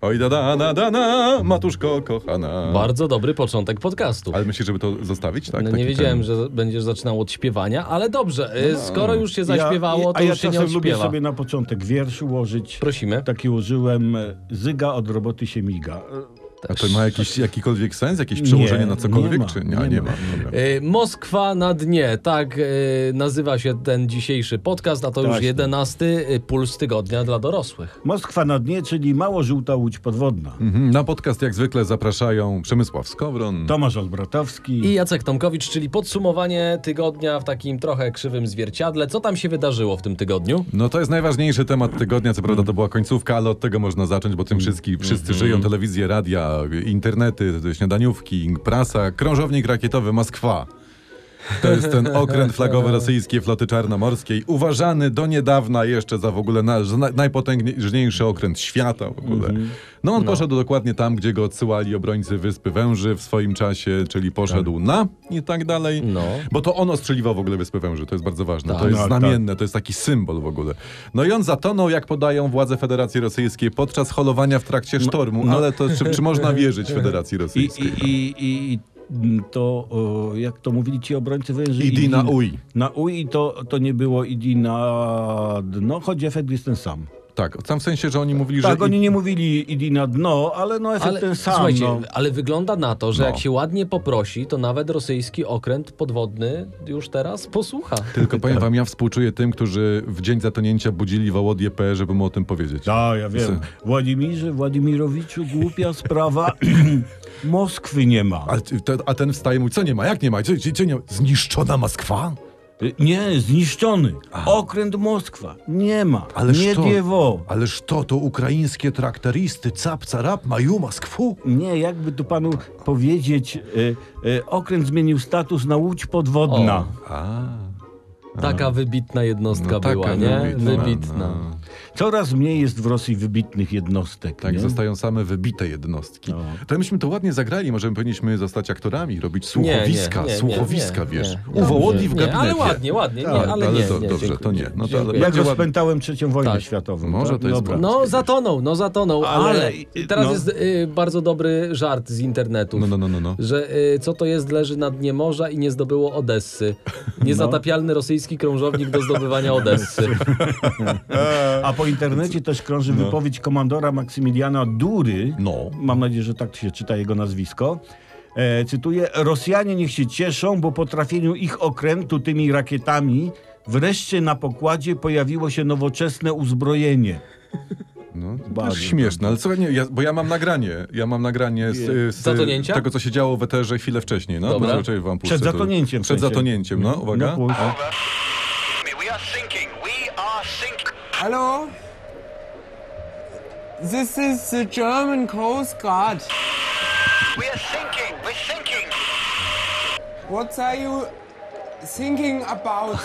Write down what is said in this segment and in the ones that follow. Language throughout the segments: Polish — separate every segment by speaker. Speaker 1: Oj da da na da na, matuszko kochana.
Speaker 2: Bardzo dobry początek podcastu.
Speaker 1: Ale myślisz, żeby to zostawić, tak?
Speaker 2: no,
Speaker 1: Taki
Speaker 2: nie wiedziałem,
Speaker 1: ten-
Speaker 2: że będziesz zaczynał od śpiewania, ale dobrze, y, skoro już się zaśpiewało, to
Speaker 3: A No. ja
Speaker 2: już się nie
Speaker 3: czasem lubię
Speaker 2: odśpiewa.
Speaker 3: sobie Tak. na początek wiersz ułożyć.
Speaker 2: Prosimy.
Speaker 3: Taki ułożyłem, e, zyga od roboty się miga.
Speaker 1: A to ma jakiś, jakikolwiek sens, jakieś przełożenie
Speaker 3: Nie,
Speaker 1: na cokolwiek,
Speaker 3: nie ma,
Speaker 1: czy nie?
Speaker 3: nie
Speaker 1: A, nie ma.
Speaker 3: ma.
Speaker 1: Dobra.
Speaker 2: Y, Moskwa na dnie, tak y, nazywa się ten dzisiejszy podcast, a to już
Speaker 3: Właśnie.
Speaker 2: jedenasty y, puls tygodnia dla dorosłych.
Speaker 3: Moskwa na dnie, czyli mało żółta łódź podwodna.
Speaker 1: Mhm, Na podcast jak zwykle zapraszają Przemysław Skowron.
Speaker 3: Tomasz Olbratowski.
Speaker 2: I Jacek Tomkowicz, czyli podsumowanie tygodnia w takim trochę krzywym zwierciadle. Co tam się wydarzyło w tym tygodniu?
Speaker 1: No to jest najważniejszy temat tygodnia, co prawda to była końcówka, ale od tego można zacząć, bo tym wszystkim wszyscy żyją, telewizje, radia, internety, śniadaniówki, prasa, krążownik rakietowy Moskwa. To jest ten okręt flagowy rosyjskiej floty czarnomorskiej, uważany do niedawna jeszcze za w ogóle na, za na- najpotężniejszy okręt świata w ogóle. No on poszedł dokładnie tam, gdzie go odsyłali obrońcy Wyspy Węży w swoim czasie, czyli poszedł na i tak dalej.
Speaker 2: No.
Speaker 1: Bo to on ostrzeliwał w ogóle Wyspy Węży, to jest bardzo ważne.
Speaker 2: Tak.
Speaker 1: To jest
Speaker 3: No, tak.
Speaker 1: znamienne, to jest taki symbol w ogóle. No i on zatonął, jak podają władze Federacji Rosyjskiej, podczas holowania w trakcie sztormu. Ale to czy, czy można wierzyć Federacji
Speaker 3: I,
Speaker 1: Rosyjskiej?
Speaker 3: No, i, i, i, i to, o, jak to mówili ci obrońcy węży?
Speaker 1: Idi na uj.
Speaker 3: Na uj to, to nie było idi na dno, choć efekt jest ten sam.
Speaker 1: Tak, tam w sensie, że oni mówili,
Speaker 3: Tak,
Speaker 1: że...
Speaker 3: oni nie mówili idi na dno, ale no efekt
Speaker 2: Ale,
Speaker 3: ten sam.
Speaker 2: słuchajcie,
Speaker 3: no.
Speaker 2: ale wygląda na to, że
Speaker 1: No.
Speaker 2: jak się ładnie poprosi, to nawet rosyjski okręt podwodny już teraz posłucha.
Speaker 1: Tylko
Speaker 3: tak.
Speaker 1: powiem wam, ja współczuję tym, którzy w dzień zatonięcia budzili Wołodię P, E, żeby mu o tym powiedzieć.
Speaker 3: Tak, ja wiem. Władimirze, Władimirowiczu, głupia sprawa. Moskwy nie ma.
Speaker 1: A, ty- te- a ten wstaje i mówi, co nie ma, jak nie ma, co, co, co nie ma? Zniszczona Moskwa?
Speaker 3: Y, Nie, zniszczony. Okręt Moskwa. Nie ma. nie
Speaker 1: to,
Speaker 3: dziewo.
Speaker 1: ależ to, to ukraińskie traktoristy, cap, carap, maju, Moskwu.
Speaker 3: Nie, jakby tu panu powiedzieć, y, y, okręt zmienił status na łódź podwodna.
Speaker 1: A.
Speaker 2: Taka wybitna jednostka
Speaker 1: No taka
Speaker 2: była, nie?
Speaker 1: wybitna,
Speaker 2: Wybitna.
Speaker 1: no.
Speaker 3: Coraz mniej jest w Rosji wybitnych jednostek.
Speaker 1: Tak,
Speaker 3: nie?
Speaker 1: zostają same wybite jednostki.
Speaker 3: No.
Speaker 1: To myśmy to ładnie zagrali, możemy powinniśmy zostać aktorami, robić słuchowiska, słuchowiska, wiesz.
Speaker 2: nie.
Speaker 1: u Wołodni w
Speaker 2: Nie,
Speaker 1: gabinecie.
Speaker 2: Ale ładnie, ładnie, nie,
Speaker 1: Tak,
Speaker 2: ale,
Speaker 1: ale
Speaker 2: nie,
Speaker 1: to-
Speaker 2: nie,
Speaker 1: dobrze,
Speaker 2: dziękuję.
Speaker 1: to nie. No to-
Speaker 2: Dziękuję.
Speaker 3: Ja
Speaker 1: Będzie
Speaker 3: go
Speaker 1: ładnie.
Speaker 3: spętałem trzecią wojnę
Speaker 2: Tak.
Speaker 3: światową.
Speaker 1: Może
Speaker 3: tak?
Speaker 1: to jest
Speaker 3: Dobra.
Speaker 1: błąd.
Speaker 2: No, zatonął, no zatonął, ale,
Speaker 3: Ale-
Speaker 2: teraz
Speaker 3: no.
Speaker 2: jest y, bardzo dobry żart z internetu.
Speaker 1: No, no, no, no, no.
Speaker 2: Że y, co to jest, leży na dnie morza i nie zdobyło Odessy.
Speaker 1: No.
Speaker 2: Niezatapialny rosyjski krążownik do zdobywania Odessy.
Speaker 3: A po internecie też krąży wypowiedź komandora Maksymiliana Dury.
Speaker 1: No.
Speaker 3: Mam nadzieję, że tak się czyta jego nazwisko. E, cytuję: Rosjanie niech się cieszą, bo po trafieniu ich okrętu tymi rakietami wreszcie na pokładzie pojawiło się nowoczesne uzbrojenie.
Speaker 1: No, to
Speaker 3: Bardzo
Speaker 1: jest śmieszne, ale słuchaj, nie, ja, bo ja mam nagranie. Ja mam nagranie z, z
Speaker 2: Zatonięcia?
Speaker 1: tego, co się działo w eterze chwilę wcześniej. No,
Speaker 2: Dobra.
Speaker 1: Zobaczę, wam puszczę
Speaker 3: Przed
Speaker 1: to.
Speaker 3: zatonięciem w
Speaker 1: Przed
Speaker 3: sensie.
Speaker 1: zatonięciem, no, uwaga.
Speaker 3: No,
Speaker 1: o,
Speaker 4: Over. We are sinking. We are sinking.
Speaker 5: Hello? This is the German Coast Guard.
Speaker 4: We are sinking. We're sinking.
Speaker 5: What are you thinking about?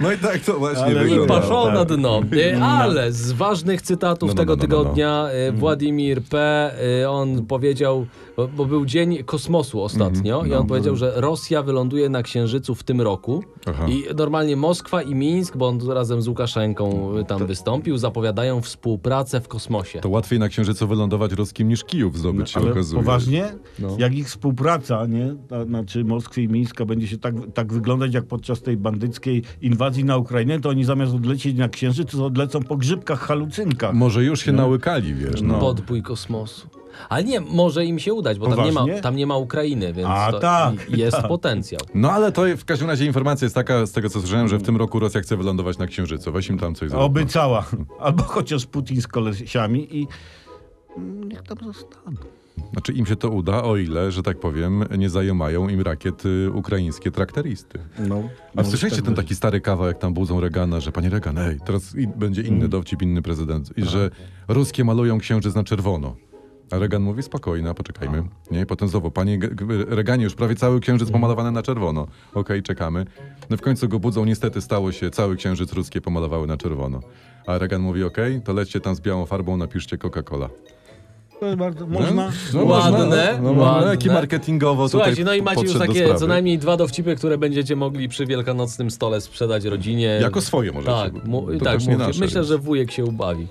Speaker 1: no i tak to właśnie
Speaker 3: Ale
Speaker 2: I
Speaker 1: wygląda.
Speaker 3: Dobra,
Speaker 2: poszło
Speaker 3: tak.
Speaker 2: na dno. Y, Ale z ważnych cytatów
Speaker 1: Mm. No, no,
Speaker 2: tego
Speaker 1: no, no, no, no.
Speaker 2: tygodnia y, Władimir P. y, on powiedział, bo- bo był dzień kosmosu ostatnio
Speaker 1: Mm-hmm.
Speaker 2: i on
Speaker 1: No,
Speaker 2: powiedział, że Rosja wyląduje na Księżycu w tym roku
Speaker 1: Aha.
Speaker 2: i normalnie Moskwa i Mińsk, bo on razem z Łukaszenką y, tam wystąpił, zapowiadają współpracę w kosmosie.
Speaker 1: To łatwiej na Księżycu wylądować ruskim niż Kijów zdobyć się
Speaker 3: No, Ale
Speaker 1: okazuje.
Speaker 3: poważnie?
Speaker 2: No.
Speaker 3: Jak ich współpraca, nie? Ta, znaczy Moskwy i Mińska będzie się tak, tak wyglądać jak podczas tej bandyckiej inwazji na Ukrainę, to oni zamiast odlecieć na Księżyc, to odlecą po grzybkach, halucynkach.
Speaker 1: Może już się nałykali, wiesz. No.
Speaker 2: Podbój kosmosu. Ale nie, może im się udać, bo tam nie, ma,
Speaker 3: Poważnie?
Speaker 2: tam nie ma Ukrainy, więc
Speaker 3: A,
Speaker 2: to
Speaker 3: tak,
Speaker 2: i- jest
Speaker 3: tak.
Speaker 2: potencjał.
Speaker 1: No ale to w każdym razie informacja jest taka, z tego co słyszałem, że w tym roku Rosja chce wylądować na Księżycu. Weź im tam coś zrobić.
Speaker 3: Obiecała. Albo chociaż Putin z kolesiami i mm, niech tam zostaną.
Speaker 1: Znaczy im się to uda, o ile, że tak powiem, nie zajmają im rakiet y, ukraińskie traktoristy.
Speaker 3: No,
Speaker 1: A
Speaker 3: może
Speaker 1: słyszeliście
Speaker 3: tak
Speaker 1: ten
Speaker 3: być.
Speaker 1: taki stary kawał, jak tam budzą Regana, że panie Regan, ej, teraz i- będzie
Speaker 3: Mm.
Speaker 1: inny dowcip, inny prezydent.
Speaker 3: Tak.
Speaker 1: I że ruskie malują księżyc na czerwono. A Regan mówi, spokojna, poczekajmy.
Speaker 3: Tak.
Speaker 1: Nie, i potem znowu, panie G- G- Reganie, już prawie cały księżyc
Speaker 3: Mm.
Speaker 1: pomalowany na czerwono. Okej, czekamy. No w końcu go budzą, niestety stało się, cały księżyc ruskie pomalowały na czerwono. A Regan mówi, okej, to lećcie tam z białą farbą, napiszcie Coca-Cola.
Speaker 3: To jest bardzo, można?
Speaker 2: Ładne,
Speaker 1: można, no, no,
Speaker 2: ładne.
Speaker 1: Jaki marketingowo
Speaker 2: Słuchajcie,
Speaker 1: tutaj
Speaker 2: no i macie już
Speaker 1: podszedł do
Speaker 2: takie
Speaker 1: sprawy.
Speaker 2: co najmniej dwa dowcipy, które będziecie mogli przy wielkanocnym stole sprzedać rodzinie.
Speaker 1: Jako swoje możecie.
Speaker 2: Tak, mu,
Speaker 1: To
Speaker 2: tak
Speaker 1: też nie
Speaker 2: mówcie.
Speaker 1: nasze,
Speaker 2: myślę,
Speaker 1: więc.
Speaker 2: że wujek się ubawi.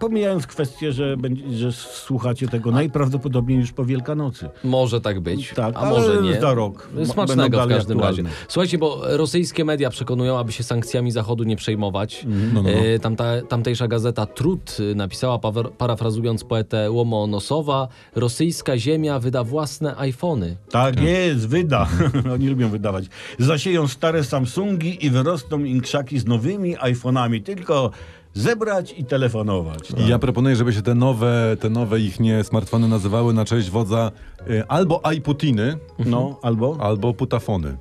Speaker 3: Pomijając kwestię, że, będzie, że słuchacie tego najprawdopodobniej już po Wielkanocy.
Speaker 2: Może tak być,
Speaker 3: Tak,
Speaker 2: a
Speaker 3: ale
Speaker 2: może nie.
Speaker 3: za rok. M- będą
Speaker 2: Smacznego w
Speaker 3: dalej
Speaker 2: każdym razie.
Speaker 3: aktualne.
Speaker 2: Słuchajcie, bo rosyjskie media przekonują, aby się sankcjami Zachodu nie przejmować.
Speaker 3: Mhm.
Speaker 1: No, no, no.
Speaker 2: E, Tamta, tamtejsza gazeta Trud y, napisała, pawer- parafrazując poetę Łomonosowa, rosyjska ziemia wyda własne iPhony.
Speaker 3: Tak jest, wyda. Oni lubią wydawać. Zasieją stare Samsungi i wyrosną im krzaki z nowymi iPhone'ami. Tylko zebrać i telefonować. Tak?
Speaker 1: I ja proponuję, żeby się te nowe, te nowe ich nie smartfony nazywały na cześć wodza y, albo iPutiny,
Speaker 3: No, albo?
Speaker 1: albo putafony.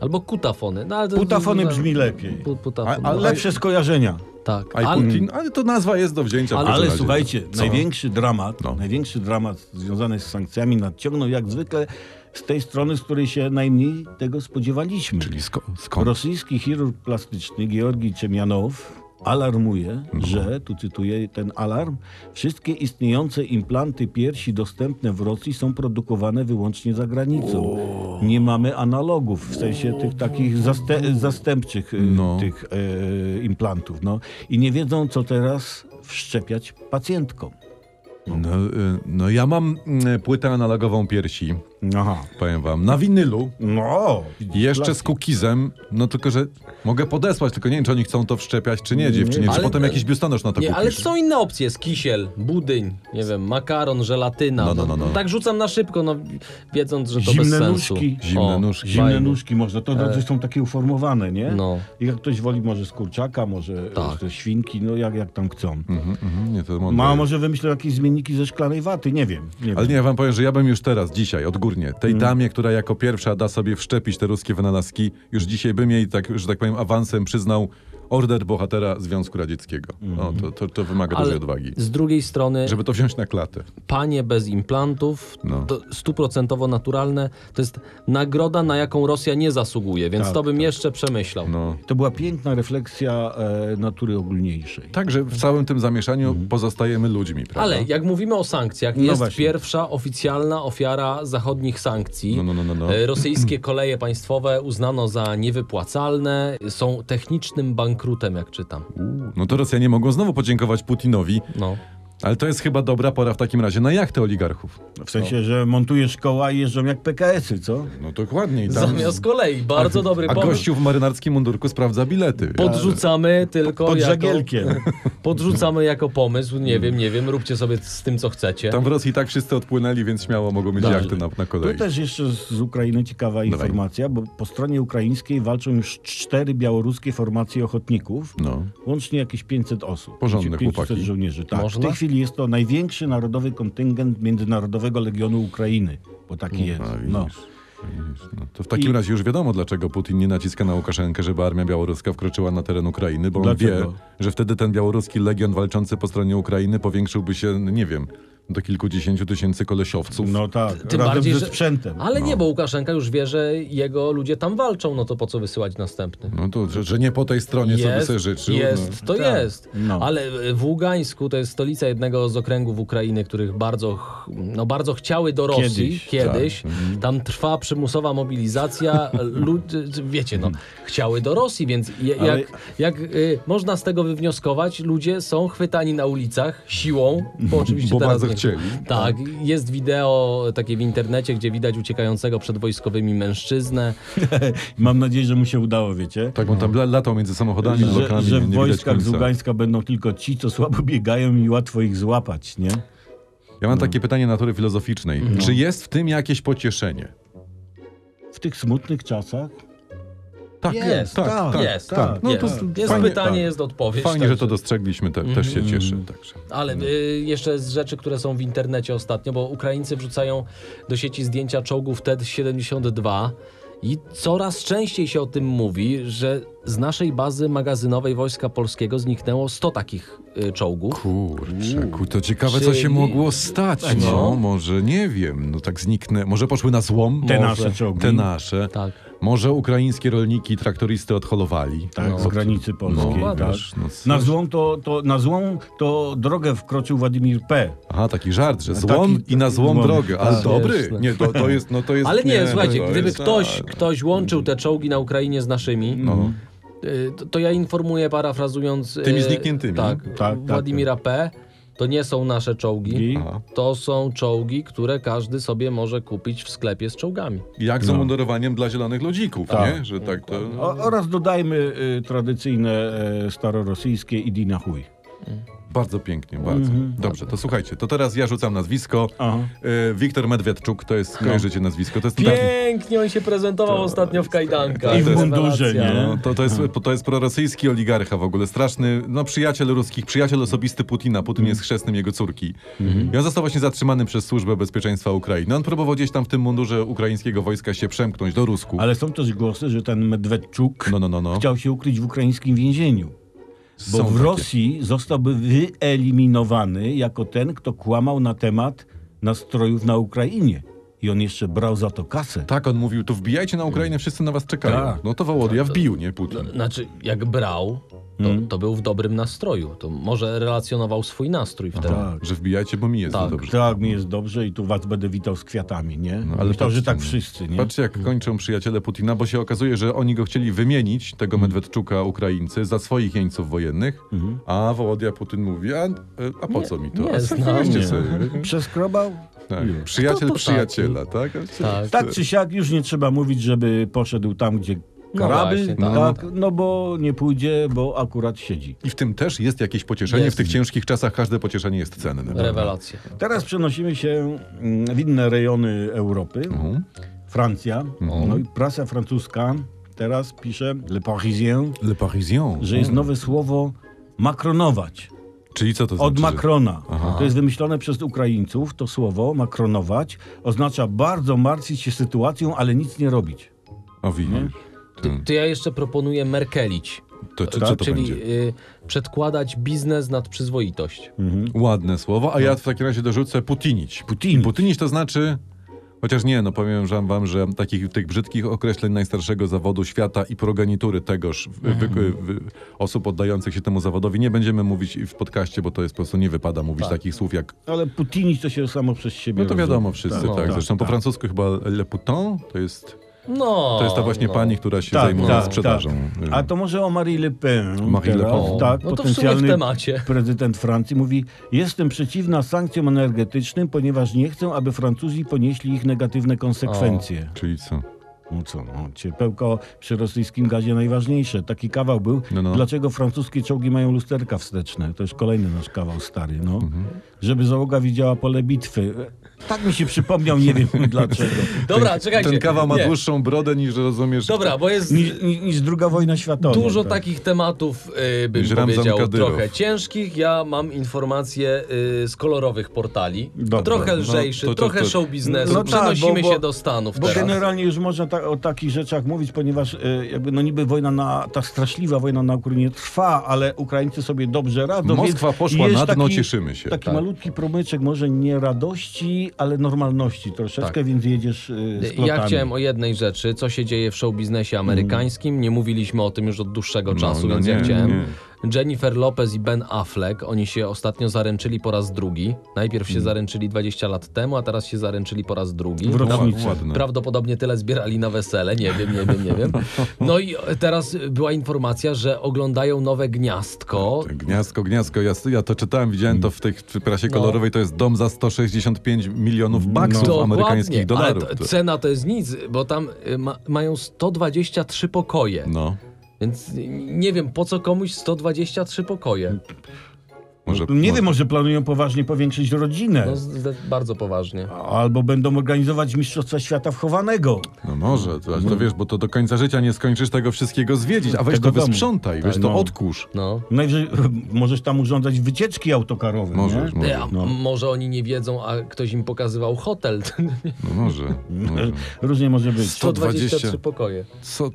Speaker 2: Albo kutafony. No, ale to-
Speaker 3: Putafony brzmi lepiej.
Speaker 2: Pu- Putafony,
Speaker 1: A- ale-
Speaker 2: no,
Speaker 3: Lepsze skojarzenia.
Speaker 2: tak. Ale,
Speaker 1: iPutin, ale to nazwa jest do wzięcia. w
Speaker 2: Ale-
Speaker 1: każdym
Speaker 3: Ale
Speaker 1: razie.
Speaker 3: słuchajcie,
Speaker 1: Co?
Speaker 3: największy dramat,
Speaker 1: No.
Speaker 3: największy dramat związany z sankcjami nadciągnął jak zwykle z tej strony, z której się najmniej tego spodziewaliśmy.
Speaker 1: Czyli sko- skąd?
Speaker 3: Rosyjski chirurg plastyczny Georgi Ciemianow alarmuje,
Speaker 1: No.
Speaker 3: że, tu cytuję ten alarm, wszystkie istniejące implanty piersi dostępne w Rosji są produkowane wyłącznie za granicą. Nie mamy analogów, w sensie tych takich zaste- zastępczych y,
Speaker 1: No.
Speaker 3: tych e, implantów. No. I nie wiedzą, co teraz wszczepiać pacjentkom.
Speaker 1: No, y, no ja mam mm, płytę analogową piersi,
Speaker 3: Aha.
Speaker 1: powiem wam, na winylu,
Speaker 3: No!
Speaker 1: jeszcze
Speaker 3: Plastik.
Speaker 1: z kukizem, no tylko, że mogę podesłać, tylko nie wiem, czy oni chcą to wszczepiać, czy nie, dziewczynie, czy
Speaker 2: ale-
Speaker 1: potem jakiś biustonosz na to
Speaker 2: nie,
Speaker 1: kupisz.
Speaker 2: ale są inne opcje, jest kisiel, budyń, nie wiem, makaron, żelatyna.
Speaker 1: No, no, no, no.
Speaker 2: Tak rzucam na szybko, no, wiedząc, że to bez
Speaker 3: Zimne
Speaker 2: sensu.
Speaker 3: nóżki.
Speaker 1: Zimne
Speaker 2: O,
Speaker 1: nóżki.
Speaker 3: Zimne
Speaker 2: fajnie. E.
Speaker 3: nóżki można, to raczej są takie uformowane, nie?
Speaker 2: No.
Speaker 3: I jak ktoś woli, może z kurczaka, może
Speaker 2: Tak.
Speaker 3: ze świnki, no jak, jak tam chcą.
Speaker 1: Mhm, mhm, nie, to mądre
Speaker 3: Ma
Speaker 1: jest.
Speaker 3: może wymyślę jakieś zmienniki ze szklanej waty, nie wiem. Nie
Speaker 1: Ale
Speaker 3: wiem.
Speaker 1: nie, ja wam powiem, że ja bym już teraz, dzisiaj, odgórnie, tej damie, która jako pierwsza da sobie wszczepić te ruskie wynalazki, już dzisiaj bym jej, tak, że tak powiem, awansem przyznał order bohatera Związku Radzieckiego. No, to, to, to wymaga
Speaker 2: Ale
Speaker 1: dużej odwagi.
Speaker 2: z drugiej strony,
Speaker 1: Żeby to wziąć na klatę.
Speaker 2: panie bez implantów,
Speaker 1: No.
Speaker 2: to stuprocentowo naturalne, to jest nagroda, na jaką Rosja nie zasługuje, więc
Speaker 3: Tak,
Speaker 2: to bym jeszcze przemyślał.
Speaker 1: No.
Speaker 3: To była piękna refleksja e, natury ogólniejszej.
Speaker 2: Tak,
Speaker 1: Także w całym tym zamieszaniu pozostajemy ludźmi, prawda?
Speaker 2: Ale jak mówimy o sankcjach,
Speaker 3: No
Speaker 2: jest
Speaker 3: właśnie.
Speaker 2: pierwsza oficjalna ofiara zachodnich sankcji.
Speaker 1: No, no, no, no, no.
Speaker 2: E, Rosyjskie koleje państwowe uznano za niewypłacalne, są technicznym bankrutem, jak czytam.
Speaker 1: No to Rosjanie mogą znowu podziękować Putinowi,
Speaker 2: No.
Speaker 1: ale to jest chyba dobra pora w takim razie na jachtę oligarchów.
Speaker 2: no.
Speaker 3: W sensie, że montujesz koła i jeżdżą jak PKS-y, co?
Speaker 1: No dokładnie. i Tam...
Speaker 2: Zamiast kolei, bardzo dobry
Speaker 1: A
Speaker 2: pomysł.
Speaker 1: gościu w marynarskim mundurku sprawdza bilety.
Speaker 2: Podrzucamy tylko
Speaker 3: Pod
Speaker 2: jako,
Speaker 3: żagielkiem.
Speaker 2: podrzucamy jako pomysł, nie wiem, nie wiem, róbcie sobie z tym co chcecie.
Speaker 1: Tam w Rosji tak wszyscy odpłynęli, więc śmiało mogą mieć
Speaker 3: Dobrze.
Speaker 1: jachty na, na
Speaker 3: Tu
Speaker 1: kolei.
Speaker 3: też jeszcze z Ukrainy ciekawa informacja, bo po stronie ukraińskiej walczą już cztery białoruskie formacje ochotników.
Speaker 1: No.
Speaker 3: Łącznie jakieś 500 osób.
Speaker 1: Porządne
Speaker 3: 500
Speaker 1: chłopaki.
Speaker 3: żołnierzy. Tak. W
Speaker 2: Można?
Speaker 3: tej chwili jest to największy narodowy kontyngent Międzynarodowego Legionu Ukrainy, bo taki jest.
Speaker 1: A,
Speaker 3: No.
Speaker 1: widzisz, widzisz. No, to w takim
Speaker 3: I-
Speaker 1: razie już wiadomo, dlaczego Putin nie naciska na Łukaszenkę, żeby armia białoruska wkroczyła na teren Ukrainy, bo on
Speaker 3: Dlaczego?
Speaker 1: wie, że wtedy ten białoruski legion walczący po stronie Ukrainy powiększyłby się, no nie wiem, do kilkudziesięciu tysięcy kolesiowców.
Speaker 3: No tak,
Speaker 2: Tym
Speaker 3: razem
Speaker 2: bardziej,
Speaker 3: ze
Speaker 2: że-
Speaker 3: sprzętem.
Speaker 2: Ale
Speaker 1: No.
Speaker 2: nie, bo Łukaszenka już wie, że jego ludzie tam walczą, no to po co wysyłać następnych?
Speaker 1: No to, że, że nie po tej stronie, co by sobie życzył. no.
Speaker 2: jest, to
Speaker 3: Tak.
Speaker 2: jest.
Speaker 3: No.
Speaker 2: Ale y, w Ługańsku to jest stolica jednego z okręgów Ukrainy, których bardzo, ch- no, bardzo chciały do Rosji
Speaker 3: Kiedyś,
Speaker 2: kiedyś.
Speaker 1: tak, mhm.
Speaker 2: Tam trwa przymusowa mobilizacja. Lud, y, wiecie, no, chciały do Rosji, więc je,
Speaker 3: Ale-
Speaker 2: jak, jak y, można z tego wywnioskować, ludzie są chwytani na ulicach siłą, bo oczywiście
Speaker 1: Bo
Speaker 2: teraz
Speaker 1: bardzo
Speaker 2: nie-
Speaker 1: chcieli.
Speaker 2: tak, jest wideo takie w internecie, gdzie widać uciekającego przed wojskowymi mężczyznę.
Speaker 3: Mam nadzieję, że mu się udało, wiecie?
Speaker 1: No. Tak, on tam la- latał między samochodami,
Speaker 3: Że,
Speaker 1: lokami, Tak,
Speaker 3: że
Speaker 1: nie
Speaker 3: w
Speaker 1: widać
Speaker 3: wojskach z
Speaker 1: końca.
Speaker 3: Ługańska będą tylko ci, co słabo biegają i łatwo ich złapać, nie?
Speaker 1: Ja
Speaker 3: No.
Speaker 1: mam takie pytanie natury filozoficznej. Czy jest w tym jakieś pocieszenie?
Speaker 3: W tych smutnych czasach.
Speaker 1: Tak,
Speaker 2: Jest,
Speaker 1: tak,
Speaker 3: tak,
Speaker 1: tak,
Speaker 2: jest,
Speaker 1: tak.
Speaker 3: tak,
Speaker 1: No to
Speaker 2: jest
Speaker 1: s-
Speaker 2: jest
Speaker 1: fajnie,
Speaker 2: pytanie,
Speaker 1: tak.
Speaker 2: jest odpowiedź.
Speaker 1: Fajnie,
Speaker 2: także-
Speaker 1: że to no. dostrzegliśmy, te, też
Speaker 3: Mhm.
Speaker 1: się cieszę. Także.
Speaker 2: Ale y, jeszcze z rzeczy, które są w internecie ostatnio, bo Ukraińcy wrzucają do sieci zdjęcia czołgów TED-72 i coraz częściej się o tym mówi, że z naszej bazy magazynowej Wojska Polskiego zniknęło 100 takich y, czołgów.
Speaker 1: Kurczę, ku, to ciekawe, co się
Speaker 2: Czyli-
Speaker 1: mogło stać. No.
Speaker 2: No.
Speaker 1: może nie wiem, no tak zniknę. Może poszły na złom?
Speaker 3: Te
Speaker 1: Może.
Speaker 3: nasze czołgi.
Speaker 1: Te nasze.
Speaker 2: Tak.
Speaker 1: Może ukraińskie rolniki i traktoristy odholowali.
Speaker 3: Tak,
Speaker 1: No.
Speaker 3: z granicy polskiej.
Speaker 1: No,
Speaker 3: tak.
Speaker 1: wiesz, no co-
Speaker 3: Na złą to, to, na złą to drogę wkroczył Władimir P.
Speaker 1: Aha, taki żart, że złom
Speaker 3: Taki-
Speaker 1: i na złą
Speaker 3: złom.
Speaker 1: drogę. Ale
Speaker 2: Tak.
Speaker 1: dobry.
Speaker 2: Śmieszne.
Speaker 1: Nie, to, to jest, no to jest...
Speaker 2: Ale nie, słuchajcie,
Speaker 1: to
Speaker 2: gdyby
Speaker 1: jest-
Speaker 2: ktoś,
Speaker 1: tak.
Speaker 2: ktoś łączył te czołgi na Ukrainie z naszymi,
Speaker 1: No.
Speaker 2: y, to, to ja informuję, parafrazując... y,
Speaker 1: Tymi znikniętymi.
Speaker 2: Tak,
Speaker 3: Tak, tak,
Speaker 2: Władimira P. To nie są nasze czołgi.
Speaker 3: I
Speaker 1: Aha.
Speaker 2: To są czołgi, które każdy sobie może kupić w sklepie z czołgami.
Speaker 1: Jak z
Speaker 2: No.
Speaker 1: mundurowaniem dla zielonych ludzików,
Speaker 3: Tak.
Speaker 1: nie? Że tak to...
Speaker 3: o, oraz dodajmy y, tradycyjne y, starorosyjskie idi na chuj.
Speaker 1: Bardzo pięknie, bardzo. Dobrze, to słuchajcie, to teraz ja rzucam nazwisko.
Speaker 3: Mhm. Aha. No.
Speaker 1: Y, Wiktor Medwiadczuk, to jest, kojarzycie nazwisko, to jest taki-
Speaker 2: Pięknie on się prezentował ostatnio w kajdankach.
Speaker 3: I w mundurze,
Speaker 2: Rewelacja.
Speaker 3: nie?
Speaker 1: No, to, to, jest, to jest prorosyjski oligarcha w ogóle, straszny, no przyjaciel ruskich, przyjaciel osobisty Putina.
Speaker 3: Mm.
Speaker 1: Putin jest chrzestnym jego córki.
Speaker 3: Mhm.
Speaker 1: I on został właśnie zatrzymany przez Służbę Bezpieczeństwa Ukrainy. No, On próbował gdzieś tam w tym mundurze ukraińskiego wojska się przemknąć do Rusku.
Speaker 3: Ale są też głosy, że ten Medwedczuk
Speaker 1: No, no, no, no.
Speaker 3: chciał się ukryć w ukraińskim więzieniu. Bo
Speaker 1: Są
Speaker 3: w
Speaker 1: takie.
Speaker 3: Rosji zostałby wyeliminowany jako ten, kto kłamał na temat nastrojów na Ukrainie. I on jeszcze brał za to kasę.
Speaker 1: Tak, on mówił, to wbijajcie na Ukrainę, wszyscy na was czekają.
Speaker 3: Tak.
Speaker 1: No to Wołodia wbił, nie Putin.
Speaker 2: Znaczy, jak brał, to, to był w dobrym nastroju. To może relacjonował swój nastrój wtedy.
Speaker 1: Że wbijajcie, bo mi jest
Speaker 2: Tak.
Speaker 1: dobrze.
Speaker 3: Tak, mi jest dobrze i tu was będę witał z kwiatami, nie? No,
Speaker 1: ale
Speaker 3: ale Myślał, że
Speaker 1: patrzcie,
Speaker 3: tak
Speaker 1: no.
Speaker 3: wszyscy, nie?
Speaker 1: Patrzcie, jak kończą przyjaciele Putina, bo się okazuje, że oni go chcieli wymienić, tego
Speaker 2: Mhm.
Speaker 1: Medwedczuka, Ukraińcy, za swoich jeńców wojennych, a Wołodia Putin mówi, a, a po co mi to?
Speaker 2: nie
Speaker 1: a
Speaker 2: znam,
Speaker 1: weźcie
Speaker 2: nie.
Speaker 1: sobie.
Speaker 3: Przeskrobał?
Speaker 1: Tak. Przyjaciel
Speaker 2: to taki?
Speaker 1: przyjaciela, tak?
Speaker 2: Tak.
Speaker 3: Tak czy siak, już nie trzeba mówić, żeby poszedł tam, gdzie karaby,
Speaker 2: właśnie, tak.
Speaker 3: tak, no bo nie pójdzie, bo akurat siedzi.
Speaker 1: I w tym też jest jakieś pocieszenie.
Speaker 2: Jest.
Speaker 1: W tych ciężkich czasach każde pocieszenie jest cenne.
Speaker 2: Rewelacja.
Speaker 3: Teraz przenosimy się mm, w inne rejony Europy.
Speaker 1: No.
Speaker 3: Francja. No i prasa francuska teraz pisze Le Parisien,
Speaker 1: Le Parisien.
Speaker 3: że jest nowe słowo makronować.
Speaker 1: Czyli co to znaczy?
Speaker 3: Od
Speaker 1: że-
Speaker 3: Macrona. To jest wymyślone przez Ukraińców. To słowo makronować oznacza bardzo martwić się sytuacją, ale nic nie robić.
Speaker 1: O, widzisz.
Speaker 2: To, to ja jeszcze proponuję Merkelić.
Speaker 1: To, czy, co to
Speaker 2: czyli
Speaker 1: będzie?
Speaker 2: y, przedkładać biznes nad przyzwoitość.
Speaker 1: Hmm. Ładne słowo, a ja w takim razie dorzucę Putinić.
Speaker 3: No. Putinić.
Speaker 1: Putinić to znaczy... Chociaż nie, no powiem że- wam, że takich tych brzydkich określeń najstarszego zawodu świata i progenitury tegoż w, wy,
Speaker 3: Mhm.
Speaker 1: wy, osób oddających się temu zawodowi nie będziemy mówić w podcaście, bo to jest po prostu nie wypada mówić
Speaker 3: Tak.
Speaker 1: takich słów jak
Speaker 3: Ale Putinić to się samo przez siebie
Speaker 1: No to
Speaker 3: rozumie.
Speaker 1: wiadomo wszyscy, tak.
Speaker 2: Tak, tak,
Speaker 1: Zresztą po francusku chyba Le Pouton to jest,
Speaker 2: No.
Speaker 1: to jest ta właśnie
Speaker 2: no.
Speaker 1: pani, która się
Speaker 3: Tak,
Speaker 1: zajmuje
Speaker 3: tak,
Speaker 1: sprzedażą. y,
Speaker 3: tak. A to może o Marie Le Pen.
Speaker 1: Marie Le
Speaker 3: teraz,
Speaker 1: Pen.
Speaker 3: Tak,
Speaker 2: No to w
Speaker 3: potencjalny
Speaker 2: sumie w temacie.
Speaker 3: prezydent Francji mówi: Jestem przeciwna sankcjom energetycznym, ponieważ nie chcę, aby Francuzi ponieśli ich negatywne konsekwencje.
Speaker 1: Czyli co?
Speaker 3: No co, no, ciepełko przy rosyjskim gazie najważniejsze. Taki kawał był.
Speaker 1: No, no.
Speaker 3: Dlaczego francuskie czołgi mają lusterka wsteczne? To już kolejny nasz kawał stary, no.
Speaker 1: Mhm.
Speaker 3: Żeby załoga widziała pole bitwy. Tak mi się przypomniał, nie wiem dlaczego.
Speaker 2: Dobra, czekajcie.
Speaker 1: Ten kawa ma
Speaker 2: Nie.
Speaker 1: dłuższą brodę niż rozumiesz.
Speaker 2: Dobra, bo jest
Speaker 3: Niż, niż, niż druga wojna światowa.
Speaker 2: dużo
Speaker 3: tak.
Speaker 2: takich tematów, y, bym
Speaker 1: Niż Ramzan
Speaker 2: powiedział,
Speaker 1: Kadyrow.
Speaker 2: trochę ciężkich. Ja mam informacje y, z kolorowych portali.
Speaker 3: Dobra,
Speaker 2: trochę
Speaker 3: no,
Speaker 2: lżejszy,
Speaker 1: to- to-
Speaker 2: trochę
Speaker 1: to-
Speaker 2: show biznesu.
Speaker 3: No tak,
Speaker 2: Przenosimy
Speaker 3: bo- bo-
Speaker 2: się do Stanów
Speaker 3: Bo
Speaker 2: teraz.
Speaker 3: generalnie już można ta, o takich rzeczach mówić, ponieważ e, jakby no niby wojna na, ta straszliwa wojna na Ukrainie trwa, ale Ukraińcy sobie dobrze radzą.
Speaker 1: Moskwa
Speaker 3: więc
Speaker 1: poszła
Speaker 3: jest
Speaker 1: na dno, cieszymy się.
Speaker 3: Taki
Speaker 1: Tak.
Speaker 3: malutki promyczek może nie radości, ale normalności troszeczkę,
Speaker 1: Tak.
Speaker 3: więc jedziesz e, z plotami.
Speaker 2: Ja chciałem o jednej rzeczy, co się dzieje w showbiznesie amerykańskim. Nie mówiliśmy o tym już od dłuższego czasu,
Speaker 1: no
Speaker 2: więc
Speaker 1: nie,
Speaker 2: ja chciałem.
Speaker 1: nie.
Speaker 2: Jennifer Lopez i Ben Affleck, oni się ostatnio zaręczyli po raz drugi. Najpierw
Speaker 1: Mm.
Speaker 2: się zaręczyli 20 lat temu, a teraz się zaręczyli po raz drugi.
Speaker 3: W
Speaker 1: Ła-
Speaker 3: rocznicy.
Speaker 1: Ładne.
Speaker 2: Prawdopodobnie tyle zbierali na wesele, nie wiem, nie wiem, nie wiem. No i teraz była informacja, że oglądają nowe
Speaker 1: No,
Speaker 2: gniazdko.
Speaker 1: tak. Gniazdko, gniazdko. Ja, ja to czytałem, widziałem to w tej w prasie
Speaker 2: No.
Speaker 1: kolorowej. To jest dom za 165 milionów baksów
Speaker 2: Dokładnie,
Speaker 1: amerykańskich
Speaker 2: ale
Speaker 1: dolarów.
Speaker 2: to,
Speaker 1: To-
Speaker 2: cena to jest nic, bo tam y, ma, mają 123 pokoje.
Speaker 1: No,
Speaker 2: Więc nie wiem, po co komuś 123 pokoje.
Speaker 1: może.
Speaker 3: No, Nie wiem, może planują poważnie powiększyć rodzinę.
Speaker 2: No, zde- bardzo poważnie.
Speaker 3: Albo będą organizować Mistrzostwa Świata wchowanego.
Speaker 1: No może, to, ale to wiesz, bo to do końca życia nie skończysz tego wszystkiego zwiedzić. A weź
Speaker 3: Tego
Speaker 1: to
Speaker 3: domu.
Speaker 1: wysprzątaj, weź
Speaker 3: Tak,
Speaker 1: to
Speaker 3: no.
Speaker 1: odkurz.
Speaker 2: No.
Speaker 3: Najwyżej możesz tam urządzać wycieczki autokarowe. nie?
Speaker 1: Możesz, może,
Speaker 2: A
Speaker 3: no.
Speaker 2: Może oni nie wiedzą, a ktoś im pokazywał hotel.
Speaker 1: no może. może.
Speaker 3: E, Różnie może być.
Speaker 2: 123 pokoje.
Speaker 1: Co?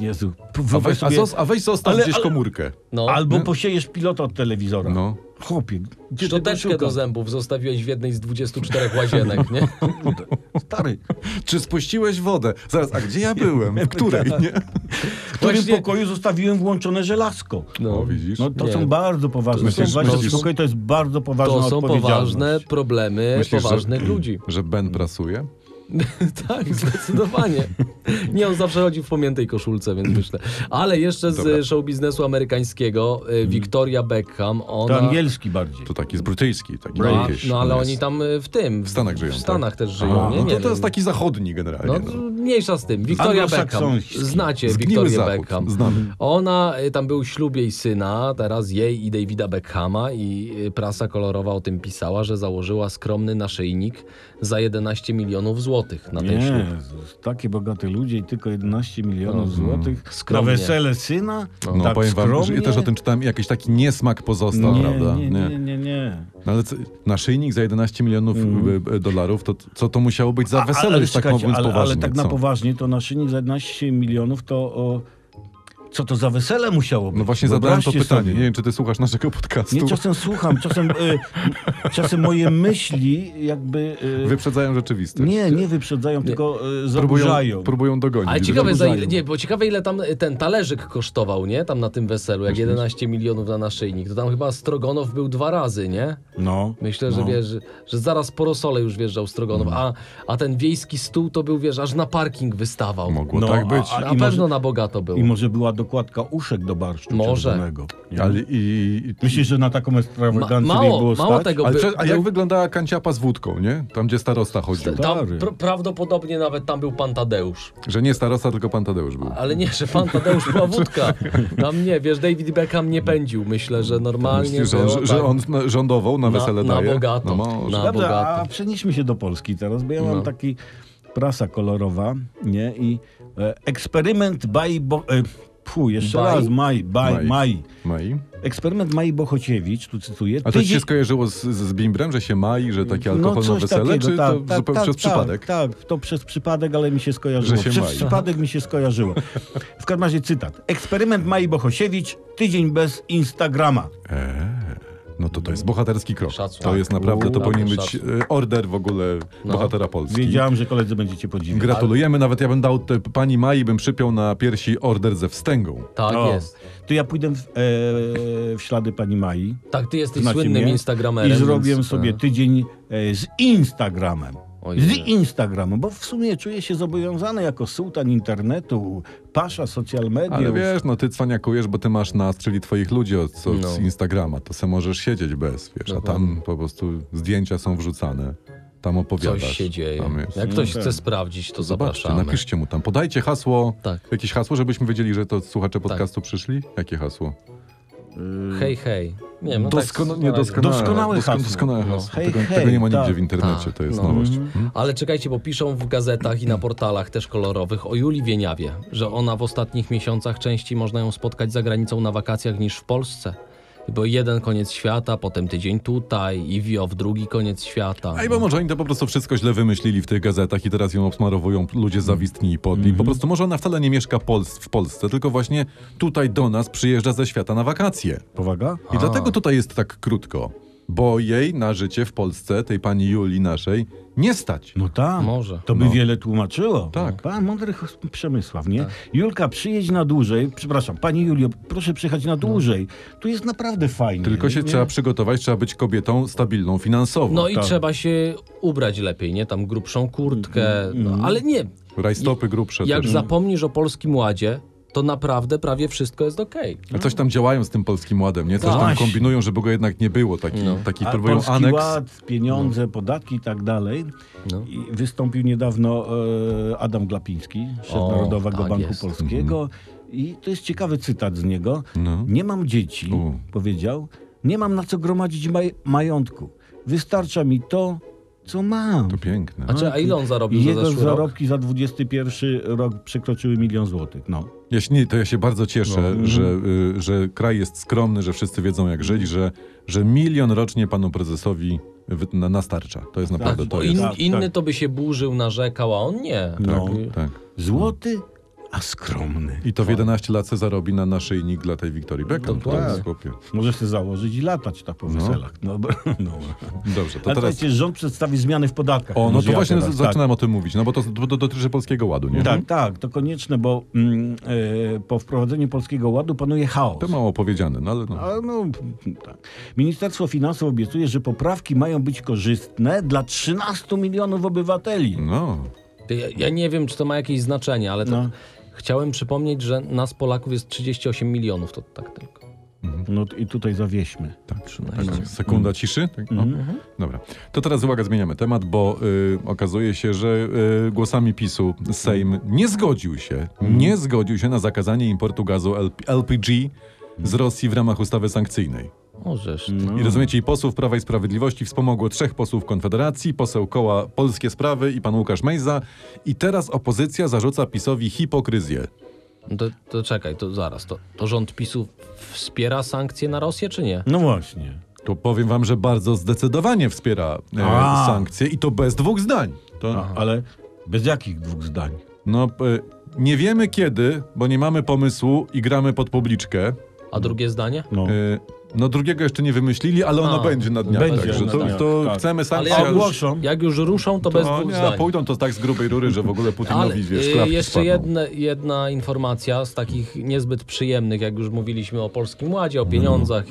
Speaker 3: Jezu.
Speaker 1: A weź, a,
Speaker 3: sobie-
Speaker 1: zos, a weź zostaw
Speaker 3: Ale-
Speaker 1: gdzieś
Speaker 3: ale-
Speaker 1: komórkę.
Speaker 2: No.
Speaker 3: Albo posiejesz pilota od telewizora.
Speaker 1: No.
Speaker 3: Chłopie, gdzie ty to
Speaker 2: Szczoteczkę do
Speaker 3: szukasz?
Speaker 2: zębów zostawiłeś w jednej z 24 łazienek, nie?
Speaker 3: Stary,
Speaker 1: No, Czy spuściłeś wodę? Zaraz, a gdzie ja byłem? W której? Nie?
Speaker 3: w którym
Speaker 2: Właśnie-
Speaker 3: pokoju zostawiłem włączone żelazko?
Speaker 1: O, widzisz?
Speaker 3: No to
Speaker 2: Nie.
Speaker 3: są bardzo poważne.
Speaker 1: myślisz,
Speaker 3: Myślisz, to,
Speaker 1: myślisz-
Speaker 3: to jest bardzo poważna
Speaker 2: To są
Speaker 3: odpowiedzialność.
Speaker 2: poważne problemy
Speaker 1: Myślisz, że-
Speaker 2: poważnych ludzi.
Speaker 1: Że Ben prasuje?
Speaker 2: tak, zdecydowanie. Nie, on zawsze chodził w pomiętej koszulce, więc myślę. Ale jeszcze z show biznesu amerykańskiego, y, Victoria Beckham,
Speaker 3: Mhm. To
Speaker 2: ona...
Speaker 3: angielski bardziej.
Speaker 1: To taki z brytyjski, taki
Speaker 2: No, a-
Speaker 1: jakieś,
Speaker 2: no ale
Speaker 1: on
Speaker 2: oni
Speaker 1: jest.
Speaker 2: tam y, w tym.
Speaker 1: W Stanach żyją,
Speaker 2: W
Speaker 1: tak?
Speaker 2: Stanach też żyją,
Speaker 1: A,
Speaker 2: nie?
Speaker 1: no
Speaker 2: nie
Speaker 1: to, to
Speaker 2: wiem.
Speaker 1: jest taki zachodni
Speaker 2: No,
Speaker 1: generalnie. No,
Speaker 2: mniejsza z tym. Victoria Beckham.
Speaker 3: Anglosaksoński.
Speaker 2: Znacie
Speaker 1: Zgniły
Speaker 2: Victoria
Speaker 1: zachód,
Speaker 2: Beckham.
Speaker 1: znamy.
Speaker 2: Ona y, tam był ślub jej syna, teraz jej i Davida Beckhama i y, prasa kolorowa o tym pisała, że założyła skromny naszyjnik za 11 milionów złotych na ten ślub.
Speaker 3: Jezus, takie bogate ludzie i tylko 11 milionów złotych
Speaker 2: Skromnie.
Speaker 3: na wesele syna?
Speaker 1: No,
Speaker 3: tak
Speaker 1: powiem wam, że
Speaker 3: skromnie?
Speaker 1: ja też o tym czytałem, jakiś taki niesmak pozostał,
Speaker 3: nie,
Speaker 1: prawda?
Speaker 3: nie, nie, nie, nie.
Speaker 1: No, ale co- naszyjnik za 11 milionów e, e, dolarów, to co to musiało być za wesele, już tak
Speaker 3: czekajcie,
Speaker 1: mówiąc
Speaker 3: Mm. ale,
Speaker 1: poważnie.
Speaker 3: ale tak na
Speaker 1: co?
Speaker 3: poważnie, to naszyjnik za 11 milionów to o, co to za wesele musiało być?
Speaker 1: No właśnie zadałem to
Speaker 3: Wyobraźcie
Speaker 1: pytanie.
Speaker 3: sobie.
Speaker 1: Nie wiem, czy ty słuchasz naszego podcastu.
Speaker 3: Nie, czasem słucham, czasem, y, czasem moje myśli jakby... Y,
Speaker 1: Wyprzedzają rzeczywiość.
Speaker 3: nie, nie wyprzedzają, tylko y, zaburzają.
Speaker 1: próbują, próbują dogonić.
Speaker 2: Ale ciekawe, za,
Speaker 1: Zaburzają.
Speaker 2: ile- nie, bo ciekawe ile tam y, ten talerzyk kosztował, nie? Tam na tym weselu, jak 11 milionów na naszyjnik. To tam chyba Strogonow był dwa razy, nie?
Speaker 3: No.
Speaker 2: Myślę, że
Speaker 3: no.
Speaker 2: wiesz, że zaraz po Rosole już wjeżdżał Strogonow, a, a ten wiejski stół to był, wiesz, aż na parking wystawał.
Speaker 1: Mogło
Speaker 3: No,
Speaker 1: tak być.
Speaker 3: a-
Speaker 2: na
Speaker 3: i
Speaker 2: pewno
Speaker 3: może-
Speaker 2: na bogato było.
Speaker 3: I może była dokładka uszek do barszczu
Speaker 2: Może.
Speaker 3: czerwonego. nie?
Speaker 1: Ale, i, i,
Speaker 3: Myślisz, że na taką
Speaker 2: Ma,
Speaker 3: ekstrawagancję jej
Speaker 2: mało,
Speaker 3: było stać?
Speaker 2: mało tego.
Speaker 1: ale
Speaker 2: by-
Speaker 1: prze- a jak
Speaker 2: był-
Speaker 1: wyglądała kanciapa z wódką, nie? Tam, gdzie starosta chodził.
Speaker 2: tam,
Speaker 3: Stary.
Speaker 2: pr prawdopodobnie nawet tam był pan Tadeusz.
Speaker 1: Że nie starosta, tylko pan Tadeusz był.
Speaker 2: Ale nie, że pan Tadeusz była wódka. Tam nie, wiesz, David Beckham nie pędził. Myślę, że normalnie
Speaker 1: Myślisz, że on,
Speaker 2: było,
Speaker 1: że- że
Speaker 2: tak.
Speaker 1: on na- rządował na
Speaker 2: Na-
Speaker 1: wesele
Speaker 2: na
Speaker 1: daje? No
Speaker 2: bogato.
Speaker 1: może.
Speaker 2: Na-
Speaker 3: Dobrze, a
Speaker 2: bogato.
Speaker 3: przenieśmy się do Polski teraz, bo ja
Speaker 2: No.
Speaker 3: mam taki prasa kolorowa, nie? I e, eksperyment Baj... Bo, e, pfu, jeszcze
Speaker 2: Baj?
Speaker 3: raz, Maj, Baj,
Speaker 1: Maj.
Speaker 3: Maj.
Speaker 1: Maj.
Speaker 3: Eksperyment Mai Bochociewicz, tu cytuję.
Speaker 1: A to ci się
Speaker 3: tydzień-
Speaker 1: skojarzyło z, z Bimbrem, że się mai, że takie alkohol na
Speaker 3: No, coś
Speaker 1: wesele,
Speaker 3: takiego,
Speaker 1: czy to zupełnie przez przypadek?
Speaker 3: Tak, tak, to przez przypadek, ale mi się skojarzyło.
Speaker 1: Że się
Speaker 3: przez
Speaker 1: mai.
Speaker 3: przypadek mi się skojarzyło. W każdym razie cytat. Eksperyment Mai Bochosiewicz, tydzień bez Instagrama.
Speaker 1: No to to jest bohaterski krok.
Speaker 2: Szacun.
Speaker 1: To jest naprawdę, to
Speaker 2: Uuu, tak,
Speaker 1: powinien być
Speaker 2: szacun. No.
Speaker 1: e, order w ogóle bohatera Polski.
Speaker 3: Wiedziałem, że koledzy będziecie podziwiać.
Speaker 1: Gratulujemy, nawet ja bym dał te, pani Mai, bym przypiął na piersi order ze wstęgą.
Speaker 2: Tak
Speaker 3: O,
Speaker 2: jest.
Speaker 3: No. To ja pójdę w, e, w ślady pani Mai.
Speaker 2: Tak, ty jesteś
Speaker 3: Znacie
Speaker 2: słynnym
Speaker 3: mnie?
Speaker 2: Instagramerem.
Speaker 3: I zrobię
Speaker 2: więc,
Speaker 3: sobie
Speaker 2: e,
Speaker 3: tydzień e, z Instagramem.
Speaker 2: Ojej.
Speaker 3: Z Instagramem, bo w sumie czuję się zobowiązany jako sułtan internetu, pasza social
Speaker 1: Ale
Speaker 3: mediów.
Speaker 1: wiesz, no ty cwaniakujesz, bo ty masz nas, czyli twoich ludzi od, od
Speaker 2: No.
Speaker 1: z Instagrama. To se możesz siedzieć bez, wiesz, a tam po prostu zdjęcia są wrzucane. Tam opowiadasz.
Speaker 2: Coś się dzieje.
Speaker 1: Tam jest.
Speaker 2: Jak ktoś
Speaker 3: No
Speaker 2: chce
Speaker 3: tak.
Speaker 2: sprawdzić, to
Speaker 1: Zobaczcie,
Speaker 2: zapraszamy.
Speaker 1: napiszcie mu tam. Podajcie hasło,
Speaker 2: Tak.
Speaker 1: jakieś hasło, żebyśmy wiedzieli, że to słuchacze podcastu przyszli. Jakie hasło?
Speaker 2: Hej, hej. Nie, wiem, no
Speaker 1: Doskono-
Speaker 2: tak,
Speaker 1: nie,
Speaker 2: na razie.
Speaker 1: doskonałe,
Speaker 3: Doskonałe
Speaker 1: dosko-
Speaker 3: hasło.
Speaker 1: Doskonałe
Speaker 2: No.
Speaker 1: hasło.
Speaker 3: Hej,
Speaker 1: tego,
Speaker 3: hej,
Speaker 1: tego nie ma nigdzie
Speaker 3: tak.
Speaker 1: w internecie, to jest
Speaker 2: no.
Speaker 1: nowość.
Speaker 3: Mhm.
Speaker 2: Ale czekajcie, bo piszą w gazetach i na portalach też kolorowych o Julii Wieniawie, że ona w ostatnich miesiącach częściej można ją spotkać za granicą na wakacjach niż w Polsce. Bo jeden koniec świata, potem tydzień tutaj i wio w drugi koniec świata.
Speaker 1: Ej, bo może oni to po prostu wszystko źle wymyślili w tych gazetach i teraz ją obsmarowują ludzie zawistni i podli.
Speaker 2: Mhm.
Speaker 1: Po prostu może ona wcale nie mieszka Pols- w Polsce, tylko właśnie tutaj do nas przyjeżdża ze świata na wakacje.
Speaker 3: Powaga?
Speaker 1: I dlatego tutaj jest tak krótko. Bo jej na życie w Polsce, tej pani Julii naszej, nie stać.
Speaker 3: No tak.
Speaker 2: Może.
Speaker 3: To by
Speaker 1: No.
Speaker 3: wiele tłumaczyło.
Speaker 1: Tak.
Speaker 3: Pan mądry Chos- Przemysław,
Speaker 2: Tak.
Speaker 3: nie? Julka, przyjedź na dłużej. Przepraszam, pani Julio, proszę przyjechać
Speaker 2: No.
Speaker 3: na dłużej. Tu jest naprawdę fajnie.
Speaker 1: Tylko się
Speaker 3: nie?
Speaker 1: trzeba przygotować, trzeba być kobietą stabilną finansowo.
Speaker 2: No i
Speaker 3: tak.
Speaker 2: trzeba się ubrać lepiej, nie? Tam grubszą kurtkę,
Speaker 3: Mhm.
Speaker 2: no, ale nie.
Speaker 1: Rajstopy grubsze
Speaker 2: Jak
Speaker 1: też.
Speaker 2: zapomnisz o Polskim Ładzie, to naprawdę prawie wszystko jest okej.
Speaker 1: A coś tam działają z tym polskim ładem, nie? Coś tam
Speaker 3: Właśnie.
Speaker 1: kombinują, żeby go jednak nie było. Taki,
Speaker 2: No.
Speaker 1: taki
Speaker 3: A
Speaker 1: próbują
Speaker 3: Polski
Speaker 1: aneks.
Speaker 3: Ład, pieniądze, podatki i tak dalej.
Speaker 2: No.
Speaker 3: I wystąpił niedawno e, Adam Glapiński, szef
Speaker 2: O,
Speaker 3: Narodowego
Speaker 2: tak
Speaker 3: Banku
Speaker 2: jest.
Speaker 3: Polskiego. I to jest ciekawy cytat z niego.
Speaker 1: No.
Speaker 3: Nie mam dzieci,
Speaker 1: U.
Speaker 3: powiedział. Nie mam na co gromadzić maj- majątku. Wystarcza mi to, co mam.
Speaker 1: To No piękne.
Speaker 2: A, czy, a ile on zarobił za
Speaker 3: Jego
Speaker 2: zeszły rok?
Speaker 3: zarobki za 21 rok przekroczyły milion złotych. No.
Speaker 1: Jeśli nie, to ja się bardzo cieszę,
Speaker 3: mhm.
Speaker 1: że, y, że kraj jest skromny, że wszyscy wiedzą jak żyć, że, że milion rocznie panu prezesowi wy- na- nastarcza. To jest naprawdę to
Speaker 2: Bo
Speaker 1: jest.
Speaker 2: in,
Speaker 3: Tak,
Speaker 2: inny
Speaker 3: tak.
Speaker 2: to by się burzył, narzekał, a on nie.
Speaker 3: No.
Speaker 1: Tak.
Speaker 3: Złoty, a skromny.
Speaker 1: I to w 11 lat se zarobi na naszyjnik dla tej Wiktorii Beckham. To
Speaker 2: Dokładnie.
Speaker 1: jest chłopie.
Speaker 3: Możesz się założyć i latać tak po weselach. No. bo- No.
Speaker 1: Dobrze, to
Speaker 3: Ale
Speaker 1: teraz...
Speaker 3: teraz... rząd przedstawi zmiany w podatkach.
Speaker 1: O, no
Speaker 3: Może
Speaker 1: to
Speaker 3: ja
Speaker 1: właśnie
Speaker 3: teraz,
Speaker 1: z-
Speaker 3: tak.
Speaker 1: zaczynam o tym mówić, no bo to, to, to dotyczy Polskiego Ładu, nie? No,
Speaker 3: Tak, tak, to konieczne, bo mm, e, po wprowadzeniu Polskiego Ładu panuje chaos.
Speaker 1: To mało powiedziane, no ale no.
Speaker 3: A, no, tak. Ministerstwo Finansów obiecuje, że poprawki mają być korzystne dla 13 milionów obywateli.
Speaker 1: no.
Speaker 2: Ty, Ja, ja nie wiem, czy to ma jakieś znaczenie, ale tak
Speaker 3: No.
Speaker 2: chciałem przypomnieć, że nas Polaków jest 38 milionów, to tak tylko.
Speaker 1: Mhm.
Speaker 3: No i tutaj zawieśmy.
Speaker 1: Tak.
Speaker 2: 13.
Speaker 3: Mhm.
Speaker 1: Sekunda ciszy? Tak? O. Dobra. To teraz uwaga, zmieniamy temat, bo y, okazuje się, że y, głosami PiSu Sejm nie zgodził się,
Speaker 3: Mhm.
Speaker 1: nie zgodził się na zakazanie importu gazu LP, LPG
Speaker 3: Mhm.
Speaker 1: z Rosji w ramach ustawy sankcyjnej.
Speaker 2: Możesz. ty.
Speaker 3: No.
Speaker 1: I rozumiecie, i posłów Prawa i Sprawiedliwości wspomogło trzech posłów Konfederacji, poseł koła Polskie Sprawy i pan Łukasz Mejza. I teraz opozycja zarzuca PiSowi hipokryzję.
Speaker 2: No To, to czekaj, to zaraz. To, to rząd PiSu wspiera sankcje na Rosję, czy nie?
Speaker 3: No właśnie.
Speaker 1: To powiem wam, że bardzo zdecydowanie wspiera e,
Speaker 3: A.
Speaker 1: sankcje i to bez dwóch zdań. To,
Speaker 3: No, ale bez jakich dwóch zdań?
Speaker 1: No, p- nie wiemy kiedy, bo nie mamy pomysłu i gramy pod publiczkę.
Speaker 2: A drugie zdanie?
Speaker 3: No.
Speaker 1: Y, No drugiego jeszcze nie wymyślili, ale ono
Speaker 2: A,
Speaker 1: będzie na dniach.
Speaker 3: będzie
Speaker 1: także
Speaker 3: na
Speaker 1: to,
Speaker 3: dniach,
Speaker 1: to
Speaker 3: tak.
Speaker 1: chcemy
Speaker 2: Ale
Speaker 1: sankcje.
Speaker 2: jak
Speaker 1: ale-
Speaker 2: już,
Speaker 3: Ogłoszą.
Speaker 2: jak już ruszą, to bez
Speaker 1: No,
Speaker 2: dwóch
Speaker 1: nie,
Speaker 2: zdań.
Speaker 1: Pójdą to tak z grubej rury, że w ogóle
Speaker 2: Ale
Speaker 1: Putinowi wiesz,
Speaker 2: y,
Speaker 1: klapki
Speaker 2: jeszcze
Speaker 1: spadną.
Speaker 2: jedne, jedna informacja z takich niezbyt przyjemnych, jak już mówiliśmy o Polskim Ładzie, o
Speaker 1: Mhm.
Speaker 2: pieniądzach.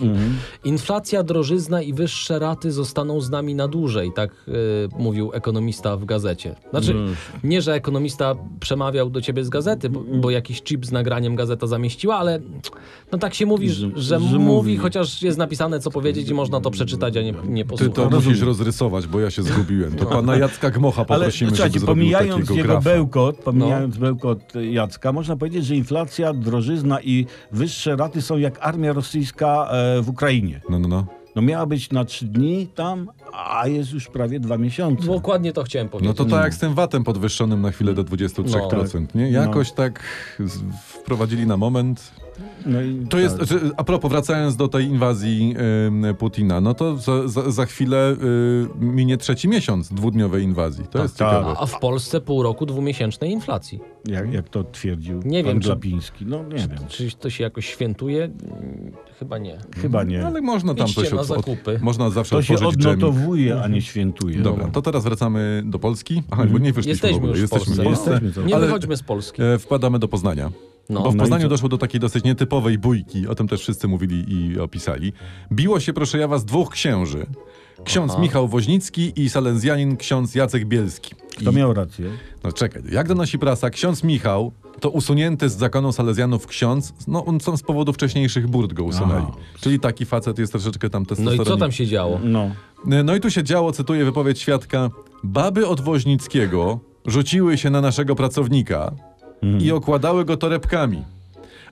Speaker 2: Inflacja, drożyzna i wyższe raty zostaną z nami na dłużej, tak y, mówił ekonomista w gazecie. Znaczy,
Speaker 1: No
Speaker 2: nie, że ekonomista przemawiał do ciebie z gazety, bo, bo jakiś chip z nagraniem gazeta zamieściła, ale no tak się mówi, że, że
Speaker 3: że
Speaker 2: mówi,
Speaker 3: mówi.
Speaker 2: chociaż jest napisane co powiedzieć i można to przeczytać, a nie, nie
Speaker 1: Ty
Speaker 2: posłuchać.
Speaker 1: to no musisz rozrysować, bo ja się zgubiłem. To pana Jacka Gmocha
Speaker 3: No. Ale
Speaker 1: poprosimy, żeby
Speaker 3: słuchajcie,
Speaker 1: zrobił
Speaker 3: pomijając
Speaker 1: takiego
Speaker 3: jego
Speaker 1: grafa.
Speaker 3: bełkot, pomijając
Speaker 2: No.
Speaker 3: bełkot y, Jacka, można powiedzieć, że inflacja, drożyzna i wyższe raty są jak armia rosyjska e, w Ukrainie.
Speaker 1: No, no, no.
Speaker 3: No miała być na trzy dni tam, a jest już prawie dwa miesiące.
Speaker 2: Dokładnie to chciałem powiedzieć.
Speaker 1: No to
Speaker 3: Mm.
Speaker 1: tak jak z tym VAT-em podwyższonym na chwilę do
Speaker 3: No.
Speaker 1: 23%, nie? Jakoś tak z- wprowadzili na moment.
Speaker 3: No i
Speaker 1: To jest, że, a propos, wracając do tej inwazji ym, Putina, no to za, za, za chwilę y, minie trzeci miesiąc dwudniowej inwazji. To jest
Speaker 3: tak.
Speaker 1: ciekawe.
Speaker 2: A w Polsce pół roku dwumiesięcznej inflacji.
Speaker 3: Jak, jak to twierdził
Speaker 2: Nie
Speaker 3: pan
Speaker 2: wiem, czy-
Speaker 3: Glapiński. No nie wiem,
Speaker 2: Czy to się jakoś świętuje? Mm, Chyba nie.
Speaker 3: chyba nie.
Speaker 1: Ale można tam
Speaker 2: Idźcie
Speaker 1: coś
Speaker 2: na
Speaker 1: od, od,
Speaker 2: zakupy.
Speaker 1: Można zawsze
Speaker 3: To się No.
Speaker 1: otworzyć dżemik.
Speaker 3: odnotowuje, a nie świętuje.
Speaker 1: Dobra, to teraz wracamy do Polski. Aha, bo nie wyszliśmy
Speaker 2: Jesteśmy
Speaker 1: w ogóle.
Speaker 2: już w
Speaker 1: Jesteśmy
Speaker 2: Polsce.
Speaker 1: w
Speaker 2: No.
Speaker 1: Polsce.
Speaker 3: Mhm. Jesteśmy, co?
Speaker 2: Nie
Speaker 1: ale
Speaker 2: wychodźmy z Polski.
Speaker 1: e, wpadamy do Poznania.
Speaker 2: No.
Speaker 1: Bo w
Speaker 3: No i
Speaker 1: Poznaniu
Speaker 3: co?
Speaker 1: doszło do takiej dosyć nietypowej bójki, o tym też wszyscy mówili i opisali. Biło się, proszę ja was, dwóch księży. Ksiądz
Speaker 2: Aha.
Speaker 1: Michał Woźnicki i salezjanin ksiądz Jacek Bielski.
Speaker 3: To
Speaker 1: I
Speaker 3: miał rację.
Speaker 1: No czekaj, jak donosi prasa, ksiądz Michał to usunięty z zakonu Salezjanów ksiądz, no on sam z powodu wcześniejszych burd go usunęli.
Speaker 3: Aha.
Speaker 1: Czyli taki facet jest troszeczkę tam
Speaker 2: No i
Speaker 1: testosteronik.
Speaker 2: co tam się działo?
Speaker 3: No.
Speaker 1: No i tu się działo, cytuję wypowiedź świadka, baby od Woźnickiego rzuciły się na naszego pracownika
Speaker 3: Mhm.
Speaker 1: i okładały go torebkami.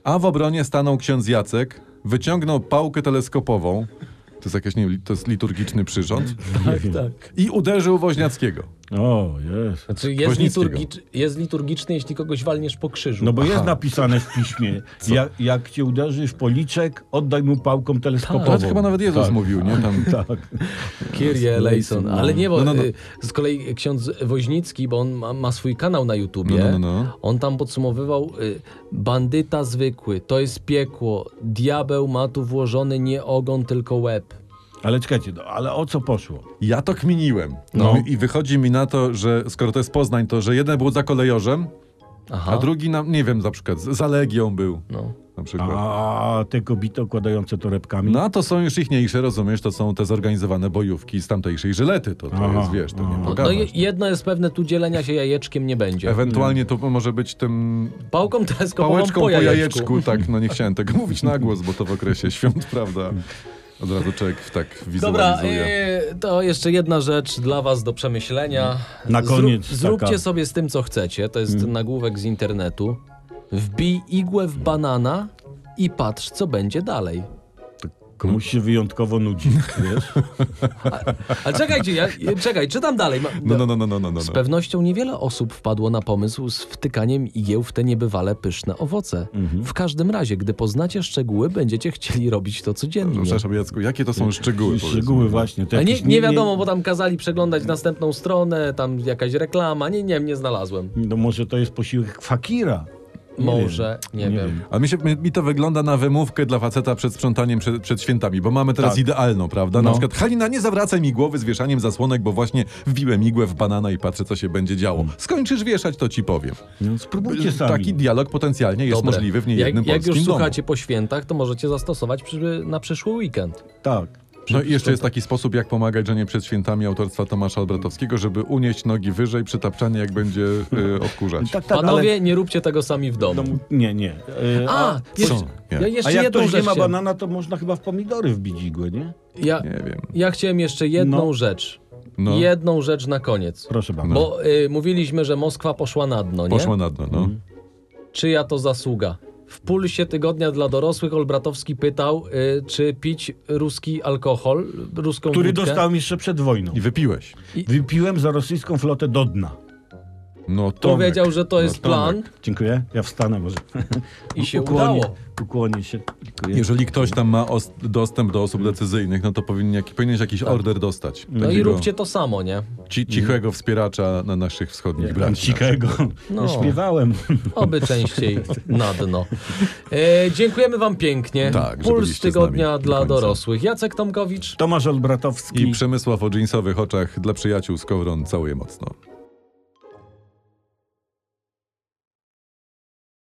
Speaker 1: A w obronie stanął ksiądz Jacek, wyciągnął pałkę teleskopową, to jest jakiś, nie wiem, to jest liturgiczny przyrząd,
Speaker 2: Tak, tak.
Speaker 1: i uderzył Woźniackiego.
Speaker 3: O, jest.
Speaker 2: Znaczy jest,
Speaker 1: Woźnickiego.
Speaker 2: liturgicz, jest liturgiczny, jeśli kogoś walniesz po krzyżu.
Speaker 3: No bo jest napisane w piśmie, jak, jak cię uderzy w policzek, oddaj mu pałką teleskopową.
Speaker 1: To chyba nawet Jezus
Speaker 3: Tak.
Speaker 1: mówił, nie? Tam
Speaker 3: Tak.
Speaker 2: Kyrie eleison.
Speaker 3: No.
Speaker 2: Ale nie, bo
Speaker 1: No, no, no.
Speaker 2: y, z kolei ksiądz Woźnicki, bo on ma, ma swój kanał na YouTubie,
Speaker 1: No, no, no, no.
Speaker 2: on tam podsumowywał y, bandyta zwykły, to jest piekło, diabeł ma tu włożony nie ogon, tylko łeb.
Speaker 3: Ale czekajcie, no, ale o co poszło?
Speaker 1: Ja to kminiłem. No.
Speaker 3: No.
Speaker 1: I wychodzi mi na to, że skoro to jest Poznań, to że jeden był za kolejorzem,
Speaker 2: Aha.
Speaker 1: a, drugi, na, nie wiem, na przykład z- za Legią był.
Speaker 2: No.
Speaker 1: Na przykład.
Speaker 3: A te kobiety okładające torebkami.
Speaker 1: No a to są już ichniejsze, rozumiesz, to są te zorganizowane bojówki z tamtejszej Żylety. To, to
Speaker 3: Aha,
Speaker 1: jest, wiesz, to nie
Speaker 3: aha.
Speaker 2: No, no
Speaker 1: pogadasz.
Speaker 2: je- jedno jest pewne, tu dzielenia się jajeczkiem nie będzie.
Speaker 1: Ewentualnie to może być tym
Speaker 2: Pałką teleskopową
Speaker 1: pałeczką
Speaker 2: po jajeczku.
Speaker 1: tak, no nie chciałem tego mówić na głos, bo to w okresie świąt, prawda? Od razu człowiek tak wizualizuje.
Speaker 2: Dobra, yy, to jeszcze jedna rzecz dla was do przemyślenia.
Speaker 3: Na koniec taka-
Speaker 2: zróbcie sobie z tym, co chcecie. To jest nagłówek z internetu. Wbij igłę w banana i patrz, co będzie dalej.
Speaker 3: Komuś się wyjątkowo nudzi, wiesz?
Speaker 2: Ale czekajcie, ja, czekaj, czytam dalej. Ma,
Speaker 1: No, no, no, no, no, no, no.
Speaker 2: Z pewnością niewiele osób wpadło na pomysł z wtykaniem igieł w te niebywale pyszne owoce. W każdym razie, gdy poznacie szczegóły, będziecie chcieli robić to codziennie.
Speaker 1: No, Przepraszam, Jacku, jakie to
Speaker 2: E,
Speaker 1: są szczegóły?
Speaker 3: Szczegóły
Speaker 1: powiedzmy?
Speaker 3: właśnie. te
Speaker 2: A nie,
Speaker 3: jakieś
Speaker 2: nie wiadomo, bo tam kazali przeglądać następną stronę, tam jakaś reklama, nie, nie, nie znalazłem.
Speaker 3: No może to jest posiłek fakira. Nie
Speaker 2: Może, nie,
Speaker 3: nie
Speaker 2: wiem.
Speaker 3: wiem.
Speaker 1: A mi, się, mi- mi to wygląda na wymówkę dla faceta przed sprzątaniem, przed, przed świętami, bo mamy teraz
Speaker 3: Tak.
Speaker 1: idealną, prawda? Na
Speaker 3: No.
Speaker 1: przykład, Halina, nie zawracaj mi głowy z wieszaniem zasłonek, bo właśnie wbiłem igłę w banana i patrzę, co się będzie działo.
Speaker 2: Hmm.
Speaker 1: Skończysz wieszać, to ci powiem.
Speaker 3: No, spróbujcie sami.
Speaker 1: Taki dialog potencjalnie jest
Speaker 2: Dobre.
Speaker 1: możliwy w niejednym
Speaker 2: jak, jak
Speaker 1: polskim
Speaker 2: już
Speaker 1: domu. No
Speaker 2: słuchacie po świętach, to możecie zastosować przy, na przyszły weekend.
Speaker 3: Tak.
Speaker 1: No i jeszcze jest taki sposób, jak pomagać żonie przed świętami autorstwa Tomasza Albratowskiego, żeby unieść nogi wyżej przy tapczanie, jak będzie y, odkurzać.
Speaker 3: Tak, tak,
Speaker 2: Panowie, nie róbcie tego sami w domu.
Speaker 3: ale... No, Nie, nie. E,
Speaker 2: A, jeszcze,
Speaker 1: Co? Nie.
Speaker 2: ja
Speaker 3: a
Speaker 2: jeszcze
Speaker 3: jak
Speaker 2: jedną
Speaker 3: ktoś nie
Speaker 2: rzecz.
Speaker 3: ma
Speaker 2: chciałem-
Speaker 3: banana, to można chyba w pomidory wbić igłę, nie?
Speaker 2: Ja,
Speaker 1: Nie wiem.
Speaker 2: ja chciałem jeszcze jedną
Speaker 3: No.
Speaker 2: rzecz.
Speaker 1: No,
Speaker 2: Jedną rzecz na koniec.
Speaker 3: Proszę bardzo.
Speaker 2: Bo y, mówiliśmy, że Moskwa poszła na dno, nie? Mhm.
Speaker 1: poszła na dno, no.
Speaker 2: Czyja to zasługa? W pulsie tygodnia dla dorosłych Olbratowski pytał, y, czy pić ruski alkohol, ruską
Speaker 3: Który
Speaker 2: wódkę.
Speaker 3: dostałem jeszcze przed wojną.
Speaker 1: I wypiłeś.
Speaker 3: Wypiłem za rosyjską flotę do dna.
Speaker 1: No Tomek.
Speaker 2: Powiedział, że to
Speaker 1: No,
Speaker 2: jest
Speaker 1: Tomek. No,
Speaker 2: plan
Speaker 3: Dziękuję. Ja wstanę może.
Speaker 2: i się
Speaker 3: Ukłonię-
Speaker 2: udało.
Speaker 3: Ukłonię się. Dziękuję.
Speaker 1: Jeżeli ktoś tam ma os- dostęp do osób decyzyjnych, no to powinien, jak, powinieneś jakiś order dostać.
Speaker 2: Tak. No i
Speaker 1: Takiego
Speaker 2: róbcie to samo, nie?
Speaker 1: ci- cichego wspieracza na naszych wschodnich
Speaker 3: Tam
Speaker 1: braci.
Speaker 3: Cikego.
Speaker 2: No.
Speaker 3: No. Śpiewałem.
Speaker 2: Oby częściej na dno. E, dziękujemy wam pięknie.
Speaker 1: Tak, że
Speaker 2: Puls
Speaker 1: byliście z
Speaker 2: tygodnia
Speaker 1: nami do
Speaker 2: dla
Speaker 1: końca.
Speaker 2: dorosłych. Jacek Tomkowicz.
Speaker 3: Tomasz Olbratowski.
Speaker 1: I Przemysław o dżinsowych oczach dla przyjaciół z Kowron całuje mocno.